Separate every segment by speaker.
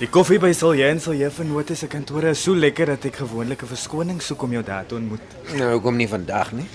Speaker 1: Die koffie by Silje en Silje vernote se kantore is so lekker dat ek gewoonlik 'n verskoning soek om jou daar te ontmoet.
Speaker 2: Nou kom nie vandag nie.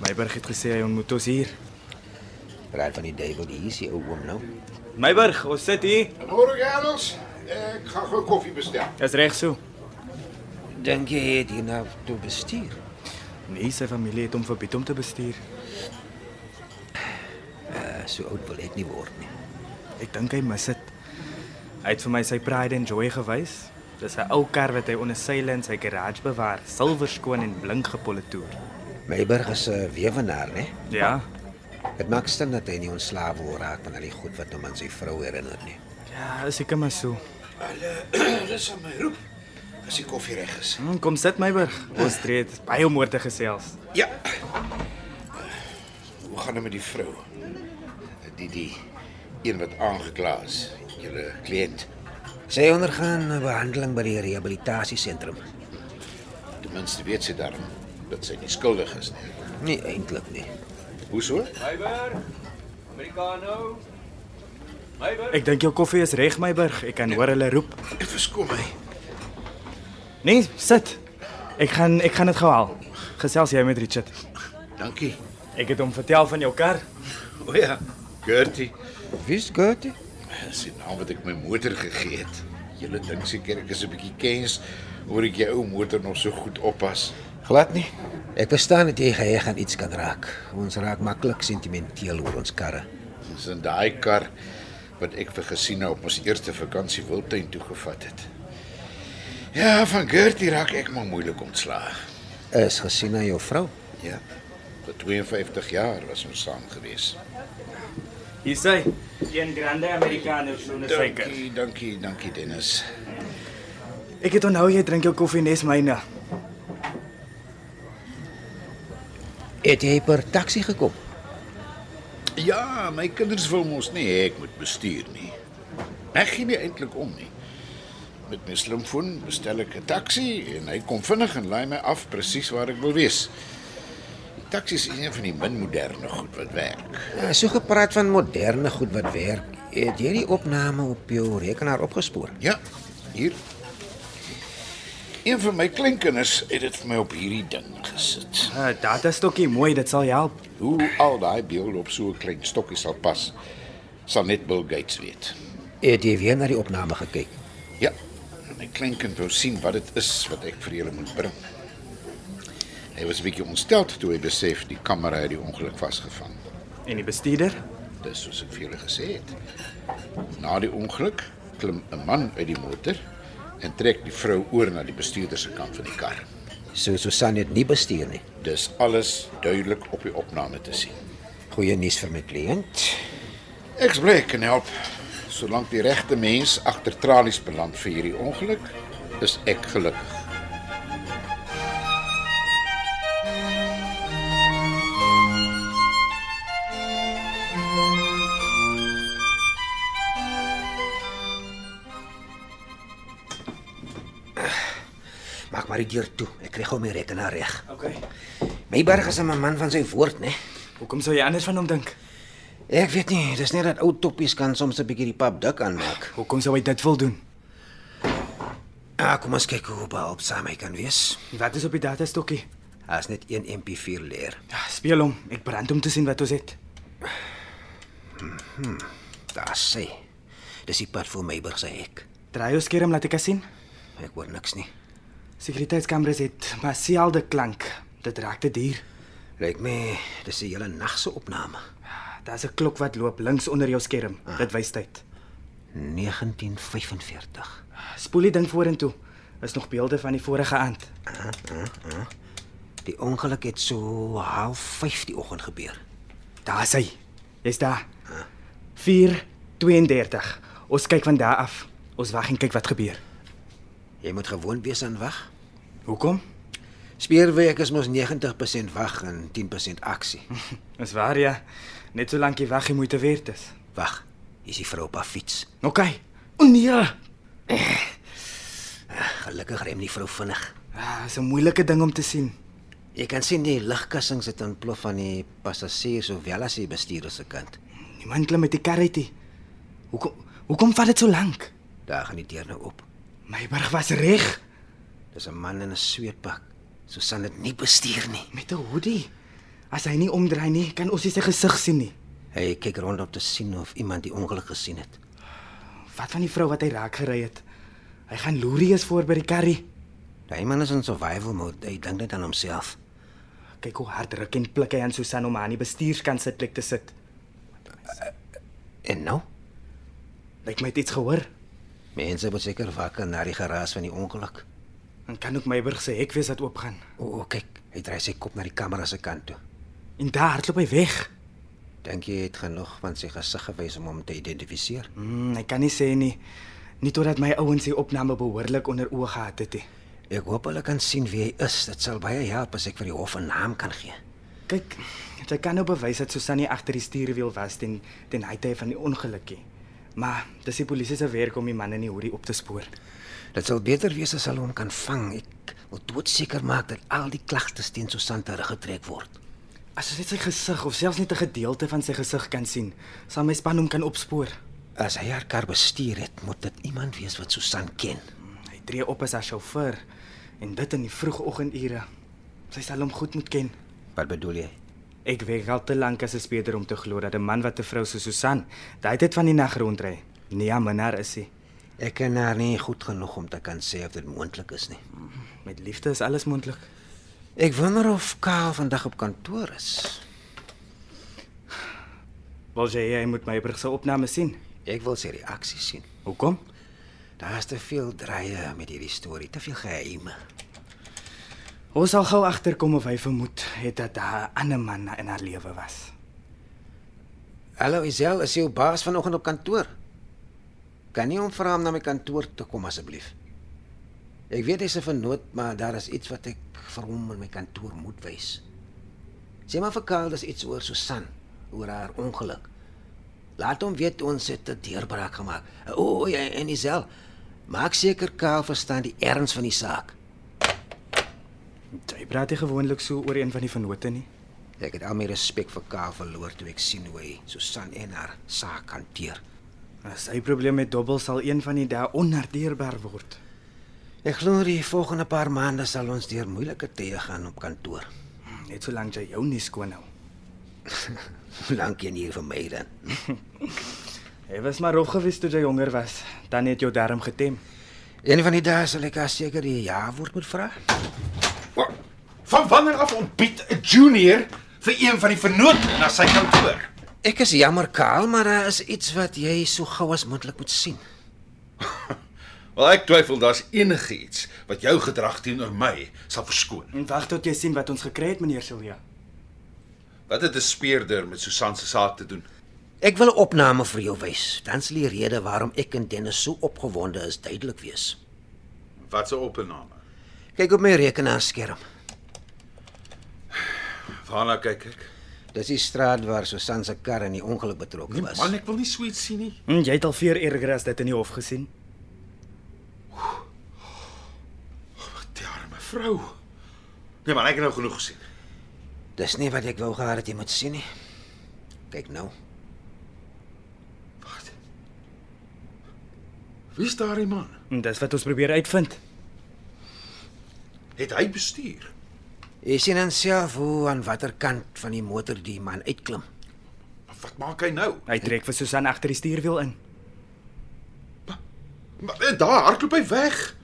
Speaker 1: Meiburg het gesê hy ontmoet ons hier.
Speaker 2: Praat van die duiwel die hier is die ou oom nou.
Speaker 1: Meiburg, ons sit hier.
Speaker 3: Môre Janus, ek gaan gou koffie bestel.
Speaker 1: Dis reg so.
Speaker 2: Dink jy hy het hier na toe bestuur?
Speaker 1: Nee, sy familie het hom verbied om te bestuur.
Speaker 2: Uh, so oud wil ek nie word nie.
Speaker 1: Ek dink hy mis dit. Hy het vir my sy pride and joy gewys. Dis 'n ou kar wat hy onder seile in sy garage bewaar, silwer skoon en blink gepolitoer.
Speaker 2: Meiburg is eh, 'n weewenaar, né?
Speaker 1: Ja.
Speaker 2: Dit maak sin dat hy nie ontslaaf wil raak van al die goed wat hom aan sy vrou herinner nie.
Speaker 1: Ja, is ek maar so.
Speaker 3: Dis aan my roep. As die koffie reg is.
Speaker 1: Hm, kom sit Meiburg. Ons tree dit is baie om oor te gesels.
Speaker 3: Ja. Hoe gaan dit met die vrou? Die die een wat aangekla is, julle kliënt.
Speaker 2: Sy ondergaan 'n behandeling by die rehabilitasiesentrum.
Speaker 3: Ten minste weet sy daarom dat sy nie skuldig is nie.
Speaker 2: Nie eintlik Nee, nie.
Speaker 3: Hoe so?
Speaker 1: Ek dink jou koffie is reg Meiburg. Ek kan hoor hulle roep.
Speaker 3: Ek verskoon my.
Speaker 1: Nee, sit. Ek gaan ek gaan dit gou haal. Gesels jy met Richard.
Speaker 3: Dankie.
Speaker 1: Ek het hom vertel van jou kar.
Speaker 3: O oh ja, Gertie.
Speaker 2: Wie's goed?
Speaker 3: Dis die naam wat ek my motor gegee het. Julle dink seker ek is 'n bietjie kens oor ek jou ou motor nog so goed oppas.
Speaker 2: Glad nie. Ek verstaan dat jy geheig aan iets kan raak. Ons raak maklik sentimenteel oor ons karre.
Speaker 3: Dis in daai kar wat ek vir Gesina op ons eerste vakansie Wildtuin toe gevat het. Ja, van Gertie raak ek maar moeilik ontslae.
Speaker 2: Is gesien na jou vrou.
Speaker 3: Ja. Vir 52 jaar was ons saam gewees.
Speaker 1: Hier sê, een grande americano sonder
Speaker 3: Dankie, dankie, dankie Dennis.
Speaker 1: Ek het onthou jy drink jou koffie nes myne.
Speaker 2: Het jy per taxi gekom?
Speaker 3: Ja, my kinders wil mos nie hê ek moet bestuur nie. Ek gee nie eintlik om nie. Met my slimfoon bestel ek 'n taxi en hy kom vinnig en laai my af presies waar ek wil wees. Die taxi is een van die min moderne goed wat werk.
Speaker 2: Uh, So gepraat van moderne goed wat werk. Het jy die opname op jou rekenaar opgespoor?
Speaker 3: Ja, hier. Een van my kleinkinders het dit vir my op hierdie ding gesit.
Speaker 1: Uh, data stokkie mooi, dit sal jou help.
Speaker 3: Hoe al daai beelde op so 'n klein stokkie sal pas, sal net Bill Gates weet.
Speaker 2: Het jy weer na die opname gekyk?
Speaker 3: Ja. My kleinkind wou sien wat dit is wat ek vir julle moet bring. Hy was 'n bietjie ontsteld toe hy besef die kamera het die ongeluk vasgevang.
Speaker 1: En die bestuurder?
Speaker 3: Dis soos ek vir julle gesê het. Na die ongeluk klim 'n man uit die motor en trek die vrou oor na die bestuurder se kant van die kar.
Speaker 2: So Susan het nie bestuur nie.
Speaker 3: Dis alles duidelik op die opname te sien.
Speaker 2: Goeie nuus vir my kliënt.
Speaker 3: Ek's bly ek kan help. Solank die regte mens agter tralies beland vir hierdie ongeluk, is ek gelukkig.
Speaker 2: Maak maar die deur toe. Ek kry gou my rekenaar reg.
Speaker 1: OK.
Speaker 2: Meiberg is 'n man van sy woord, né?
Speaker 1: Hoekom sou jy anders van hom dink?
Speaker 2: Ek weet nie, dis net dat ou toppies kan soms 'n bietjie die pap dik aanmaak.
Speaker 1: Hoekom sou hy dit wil doen?
Speaker 2: Ah, kom ons kyk hoe behulpsaam hy kan wees.
Speaker 1: Wat is op die data stokkie?
Speaker 2: Hy's net een MP4 leer.
Speaker 1: Ja, speel hom. Ek brand om te sien wat ons het.
Speaker 2: Daar sê. Dis die pad vir Meiberg se hek.
Speaker 1: Draai jou skerm laat ek dit sien.
Speaker 2: Ek hoor niks nie.
Speaker 1: Sekuriteitskameras het maar selde klank. Dit raak te duur.
Speaker 2: Lyk my dis 'n hele nag se opname.
Speaker 1: Ah, Daar's 'n klok wat loop links onder jou skerm. Dit wys tyd.
Speaker 2: 1945.
Speaker 1: Spoel die ding vorentoe. Is nog beelde van die vorige aand.
Speaker 2: Die ongeluk het so half 5 die oggend gebeur.
Speaker 1: Daar's hy. Jy's daar. 4:32. Ons kyk van daar af. Ons wag en kyk wat gebeur.
Speaker 2: Jy moet gewoond wees aan wag.
Speaker 1: Hoekom?
Speaker 2: Speerwerk is mos 90% wag en 10% aksie.
Speaker 1: Is waar ja. Net solank jy weg die moeite werd is.
Speaker 2: Wag. Hier's die vrou op haar fiets.
Speaker 1: OK. O nee.
Speaker 2: Gelukkig rem die vrou vinnig.
Speaker 1: Ah, dis 'n moeilike ding om te sien.
Speaker 2: Jy kan sien die ligkussings het ontplof aan die passasiers sowel as die bestuurder se kant.
Speaker 1: Niemand klim met die karretjie. Hoekom hoekom vat dit so lank?
Speaker 2: Daar gaan die deur nou op.
Speaker 1: Meiburg was reg
Speaker 2: Dis 'n man in 'n sweetpak. Susan het nie bestuur nie.
Speaker 1: met 'n hoodie. As hy nie omdraai nie, kan ons nie sy gesig sien nie.
Speaker 2: Hy kyk rond om te sien of iemand die ongeluk gesien het.
Speaker 1: Wat van die vrou wat hy raak gery het? Hy gaan loerie is voor by die karry.
Speaker 2: Daai Nou, man is in survival mode. Hy dink net aan homself.
Speaker 1: Kyk hoe hard ruk en pluk hy aan Susan om haar aan die bestuurskant sitplek te sit.
Speaker 2: En nou?
Speaker 1: Lyk my het iets gehoor.
Speaker 2: Mense word seker wakker na die geraas van die ongeluk.
Speaker 1: Dan kan ook Meiburg se hek weer laat oopgaan.
Speaker 2: O, o, kyk, hy draai sy kop na die kamera se kant toe.
Speaker 1: En daar hardloop hy weg.
Speaker 2: Dink jy hy het genoeg van sy gesig gewys om hom te identifiseer?
Speaker 1: Hmm, ek kan nie sê nie. Nie totdat my ouens die opname behoorlik onder oë gehad het nie.
Speaker 2: Ek hoop hulle kan sien wie hy is. Dit sal baie help as ek vir die hof 'n naam kan gee.
Speaker 1: Kyk, sy kan nou bewys dat Susan nie agter die stuurwiel was ten ten hy tyd van die ongelukkie. Maar dis die polisie se werk om die man in die hoodie op te spoor.
Speaker 2: Dit sal beter wees as hulle hom kan vang. Ek wil doodseker maak dat al die klagtes teen Susan teruggetrek word.
Speaker 1: As ons net sy gesig of selfs net 'n gedeelte van sy gesig kan sien, sal my span hom kan opspoor.
Speaker 2: As hy haar kar bestuur het, moet dit iemand wees wat Susan ken.
Speaker 1: Hy tree op as haar sjofeur en dit in die vroegoggendure. Sy sal hom goed moet ken.
Speaker 2: Wat bedoel jy?
Speaker 1: Ek werk al te lank as 'n speeder om te glo dat 'n man wat 'n vrou so Susan, daai tyd van die nag rondry, nie 'n minnaar is nie.
Speaker 2: Ek ken haar nie goed genoeg om te kan sê of dit moontlik is nie.
Speaker 1: Met liefde is alles moontlik.
Speaker 2: Ek wonder of Kaal vandag op kantoor is.
Speaker 1: Wil jy hy moet my brug se opname sien?
Speaker 2: Ek wil sy reaksie sien.
Speaker 1: Hoekom?
Speaker 2: Daar's te veel drye met hierdie storie, te veel geheime.
Speaker 1: Ons sal gou agterkom of hy vermoed het dat daar 'n ander man in haar lewe was.
Speaker 2: Hallo Isel, is jou baas vanoggend op kantoor? Kan nie hom vra om na my kantoor te kom asseblief? Ek weet hy's 'n vernoot, maar daar is iets wat ek vir hom in my kantoor moet wys. Sê maar vir Karl dis iets oor Susan, oor haar ongeluk. Laat hom weet ons het 'n deurbraak gemaak. O, o, ja, en Isel, maak seker Karl verstaan die erns van die saak.
Speaker 1: Jy praat nie gewoonlik so oor een van die vennote nie.
Speaker 2: Ek het al my respek vir Karl verloor toe ek sien hoe hy Susan en haar saak hanteer.
Speaker 1: As hy probleme met dobbel sal een van die dae onnadeerbaar word.
Speaker 2: Ek glo die volgende paar maande sal ons deur moeilike tye gaan op kantoor.
Speaker 1: Net solank jy jou nie skoon hou.
Speaker 2: Hoe lank jy hier vir my dan?
Speaker 1: Hy was maar rof gewees toe jy jonger was. Dan het jou darm getem.
Speaker 2: Een van die dae sal ek haar seker die ja woord moet vra.
Speaker 4: Wa- Van wanneer af ontbied 'n junior vir een van die vennote na sy kantoor?
Speaker 2: Ek is jammer Karl, maar daar is iets wat jy so gou as moontlik moet sien.
Speaker 4: Wel ek twyfel daar's enige iets wat jou gedrag teenoor my sal verskoon.
Speaker 1: En wag tot jy sien wat ons gekry het, meneer Silja.
Speaker 4: Wat het 'n speerder met Susan se saak te doen?
Speaker 2: Ek wil 'n opname vir jou wys. Dan sal die rede waarom ek en Dennis so opgewonde is duidelik wees.
Speaker 4: Wat 'n opname.
Speaker 2: Kyk op my rekenaarskerm.
Speaker 4: Waarna kyk ek?
Speaker 2: Dis die straat waar Susan se kar in die ongeluk betrokke was.
Speaker 4: Nee, Man, ek wil nie so iets sien nie.
Speaker 1: Hm, jy het al veel erger as dit in die hof gesien.
Speaker 4: Die arme vrou. Nee man, ek het nou genoeg gesien.
Speaker 2: Dis nie wat ek wou gehad het jy moet sien nie. Kyk nou.
Speaker 4: Wat? Wie is daai man?
Speaker 1: En Hm, dis wat ons probeer uitvind.
Speaker 4: Het hy bestuur?
Speaker 2: Jy sien dan self hoe aan watter kant van die motor die man uitklim.
Speaker 4: Maar Wat maak hy nou?
Speaker 1: Hy trek vir Susan agter die stuurwiel in.
Speaker 4: Maar eh, daar hardloop hy weg.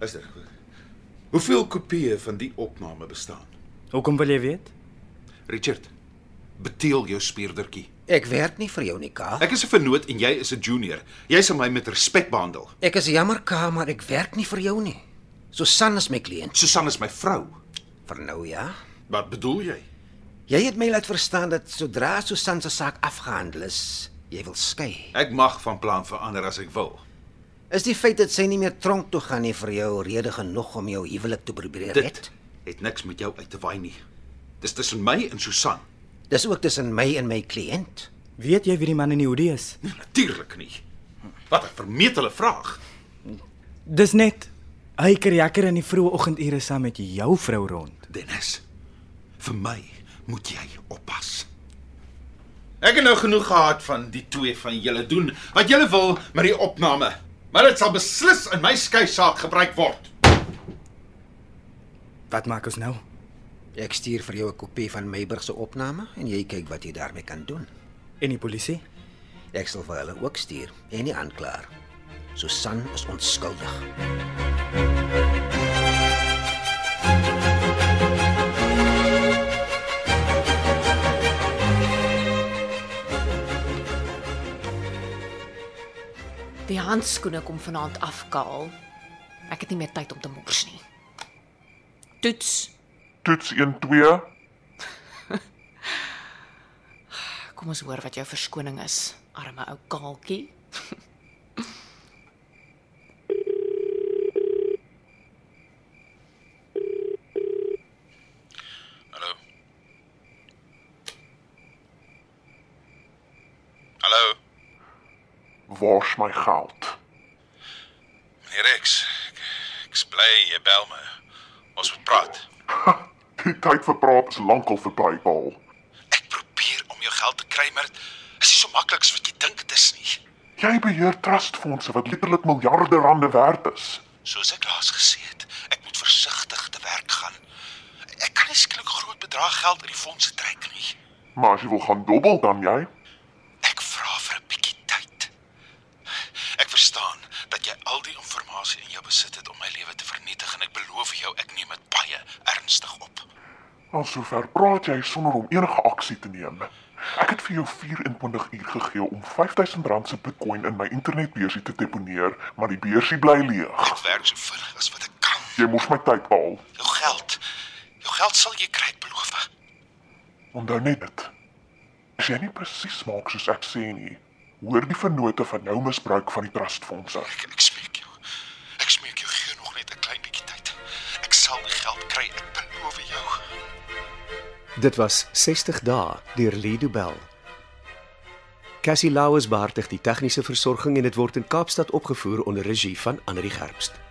Speaker 4: Luister. Hoeveel kopieë van die opname bestaan?
Speaker 1: Hoekom wil jy weet?
Speaker 4: Richard, beteel jou spierdertjie.
Speaker 2: Ek werk nie vir jou nie, Ka.
Speaker 4: Ek is 'n vernoot en jy is 'n junior. Jy sal my met respek behandel.
Speaker 2: Ek is jammer, Ka, maar ek werk nie vir jou nie. Susan is my kliënt.
Speaker 4: Susan is my vrou.
Speaker 2: Vir nou ja.
Speaker 4: Wat bedoel jy?
Speaker 2: Jy het my laat verstaan dat sodra Susan se saak afgehandel is, jy wil skei.
Speaker 4: Ek mag van plan verander as ek wil.
Speaker 2: Is die feit dat sy nie meer tronk toe gaan nie vir jou rede genoeg om jou huwelik te probeer red?
Speaker 4: Dit het niks met jou uit te waai nie. Dis tussen my en Susan.
Speaker 2: Dis ook tussen my en my kliënt.
Speaker 1: Weet jy wie die man in die hoodie is?
Speaker 4: Nee, natuurlik nie. Wat 'n vermetele vraag.
Speaker 1: Dis net hy kerjakker in die vroeë oggendure saam met jou vrou rond.
Speaker 4: Dennis, vir my moet jy oppas. Ek het nou genoeg gehad van die twee van julle doen wat julle wil met die opname. Maar dit sal beslis in my skei saak gebruik word.
Speaker 1: Wat maak ons nou?
Speaker 2: Ek stuur vir jou 'n kopie van Meiburg se opname en jy kyk wat jy daarmee kan doen.
Speaker 1: En die polisie?
Speaker 2: Ek sal vir hulle ook stuur en die aanklaer. Susan is onskuldig.
Speaker 5: Die handskoene kom vanaand af, Kaal. Ek het nie meer tyd om te mors nie. Toets,
Speaker 6: Toets 1 2.
Speaker 5: kom ons hoor wat jou verskoning is, arme ou Kaaltjie.
Speaker 7: Hallo. Hallo,
Speaker 6: Waar's my geld?
Speaker 7: meneer Rex. Ek, ek's bly jy bel my. Ons moet praat.
Speaker 6: Die tyd vir praat is lankal verby, Paul.
Speaker 7: Ek probeer om jou geld te kry, maar dit is nie so maklik soos wat jy dink dit is nie.
Speaker 6: Jy beheer trustfondse wat letterlik miljarde rande werd is.
Speaker 7: Soos ek laas gesê het, ek moet versigtig te werk gaan. Ek kan nie skielik groot bedrag geld uit die fondse trek nie.
Speaker 6: Maar as jy wil gaan dobbel dan jy,
Speaker 7: Ek vra vir 'n bietjie tyd. Ek verstaan dat jy al die inligting in jou besit het om my lewe te vernietig en ek beloof jou ek neem dit baie ernstig op.
Speaker 6: al sover praat jy sonder om enige aksie te neem. Ek het vir jou 24 uur gegee om R5000 se Bitcoin in my internetbeursie te deponeer, maar die beursie bly leeg.
Speaker 7: Ek werk so vinnig as wat ek kan.
Speaker 6: Jy mors my tyd haal.
Speaker 7: Jou geld, jou geld sal jy kry, ek beloof.
Speaker 6: Onthou net dit. As jy nie presies maak soos ek sê nie, hoor die vennote van jou misbruik van die trustfondse.
Speaker 7: Ek ek smeek jou. Ek smeek jou gee nog net 'n klein bietjie tyd. Ek sal die geld kry, ek beloof jou.
Speaker 8: Dit was 60 dae deur Lido Bell. Cassie Lauers beheer die tegniese versorging en dit word in Kaapstad opgevoer onder regie van Anri Gerbst.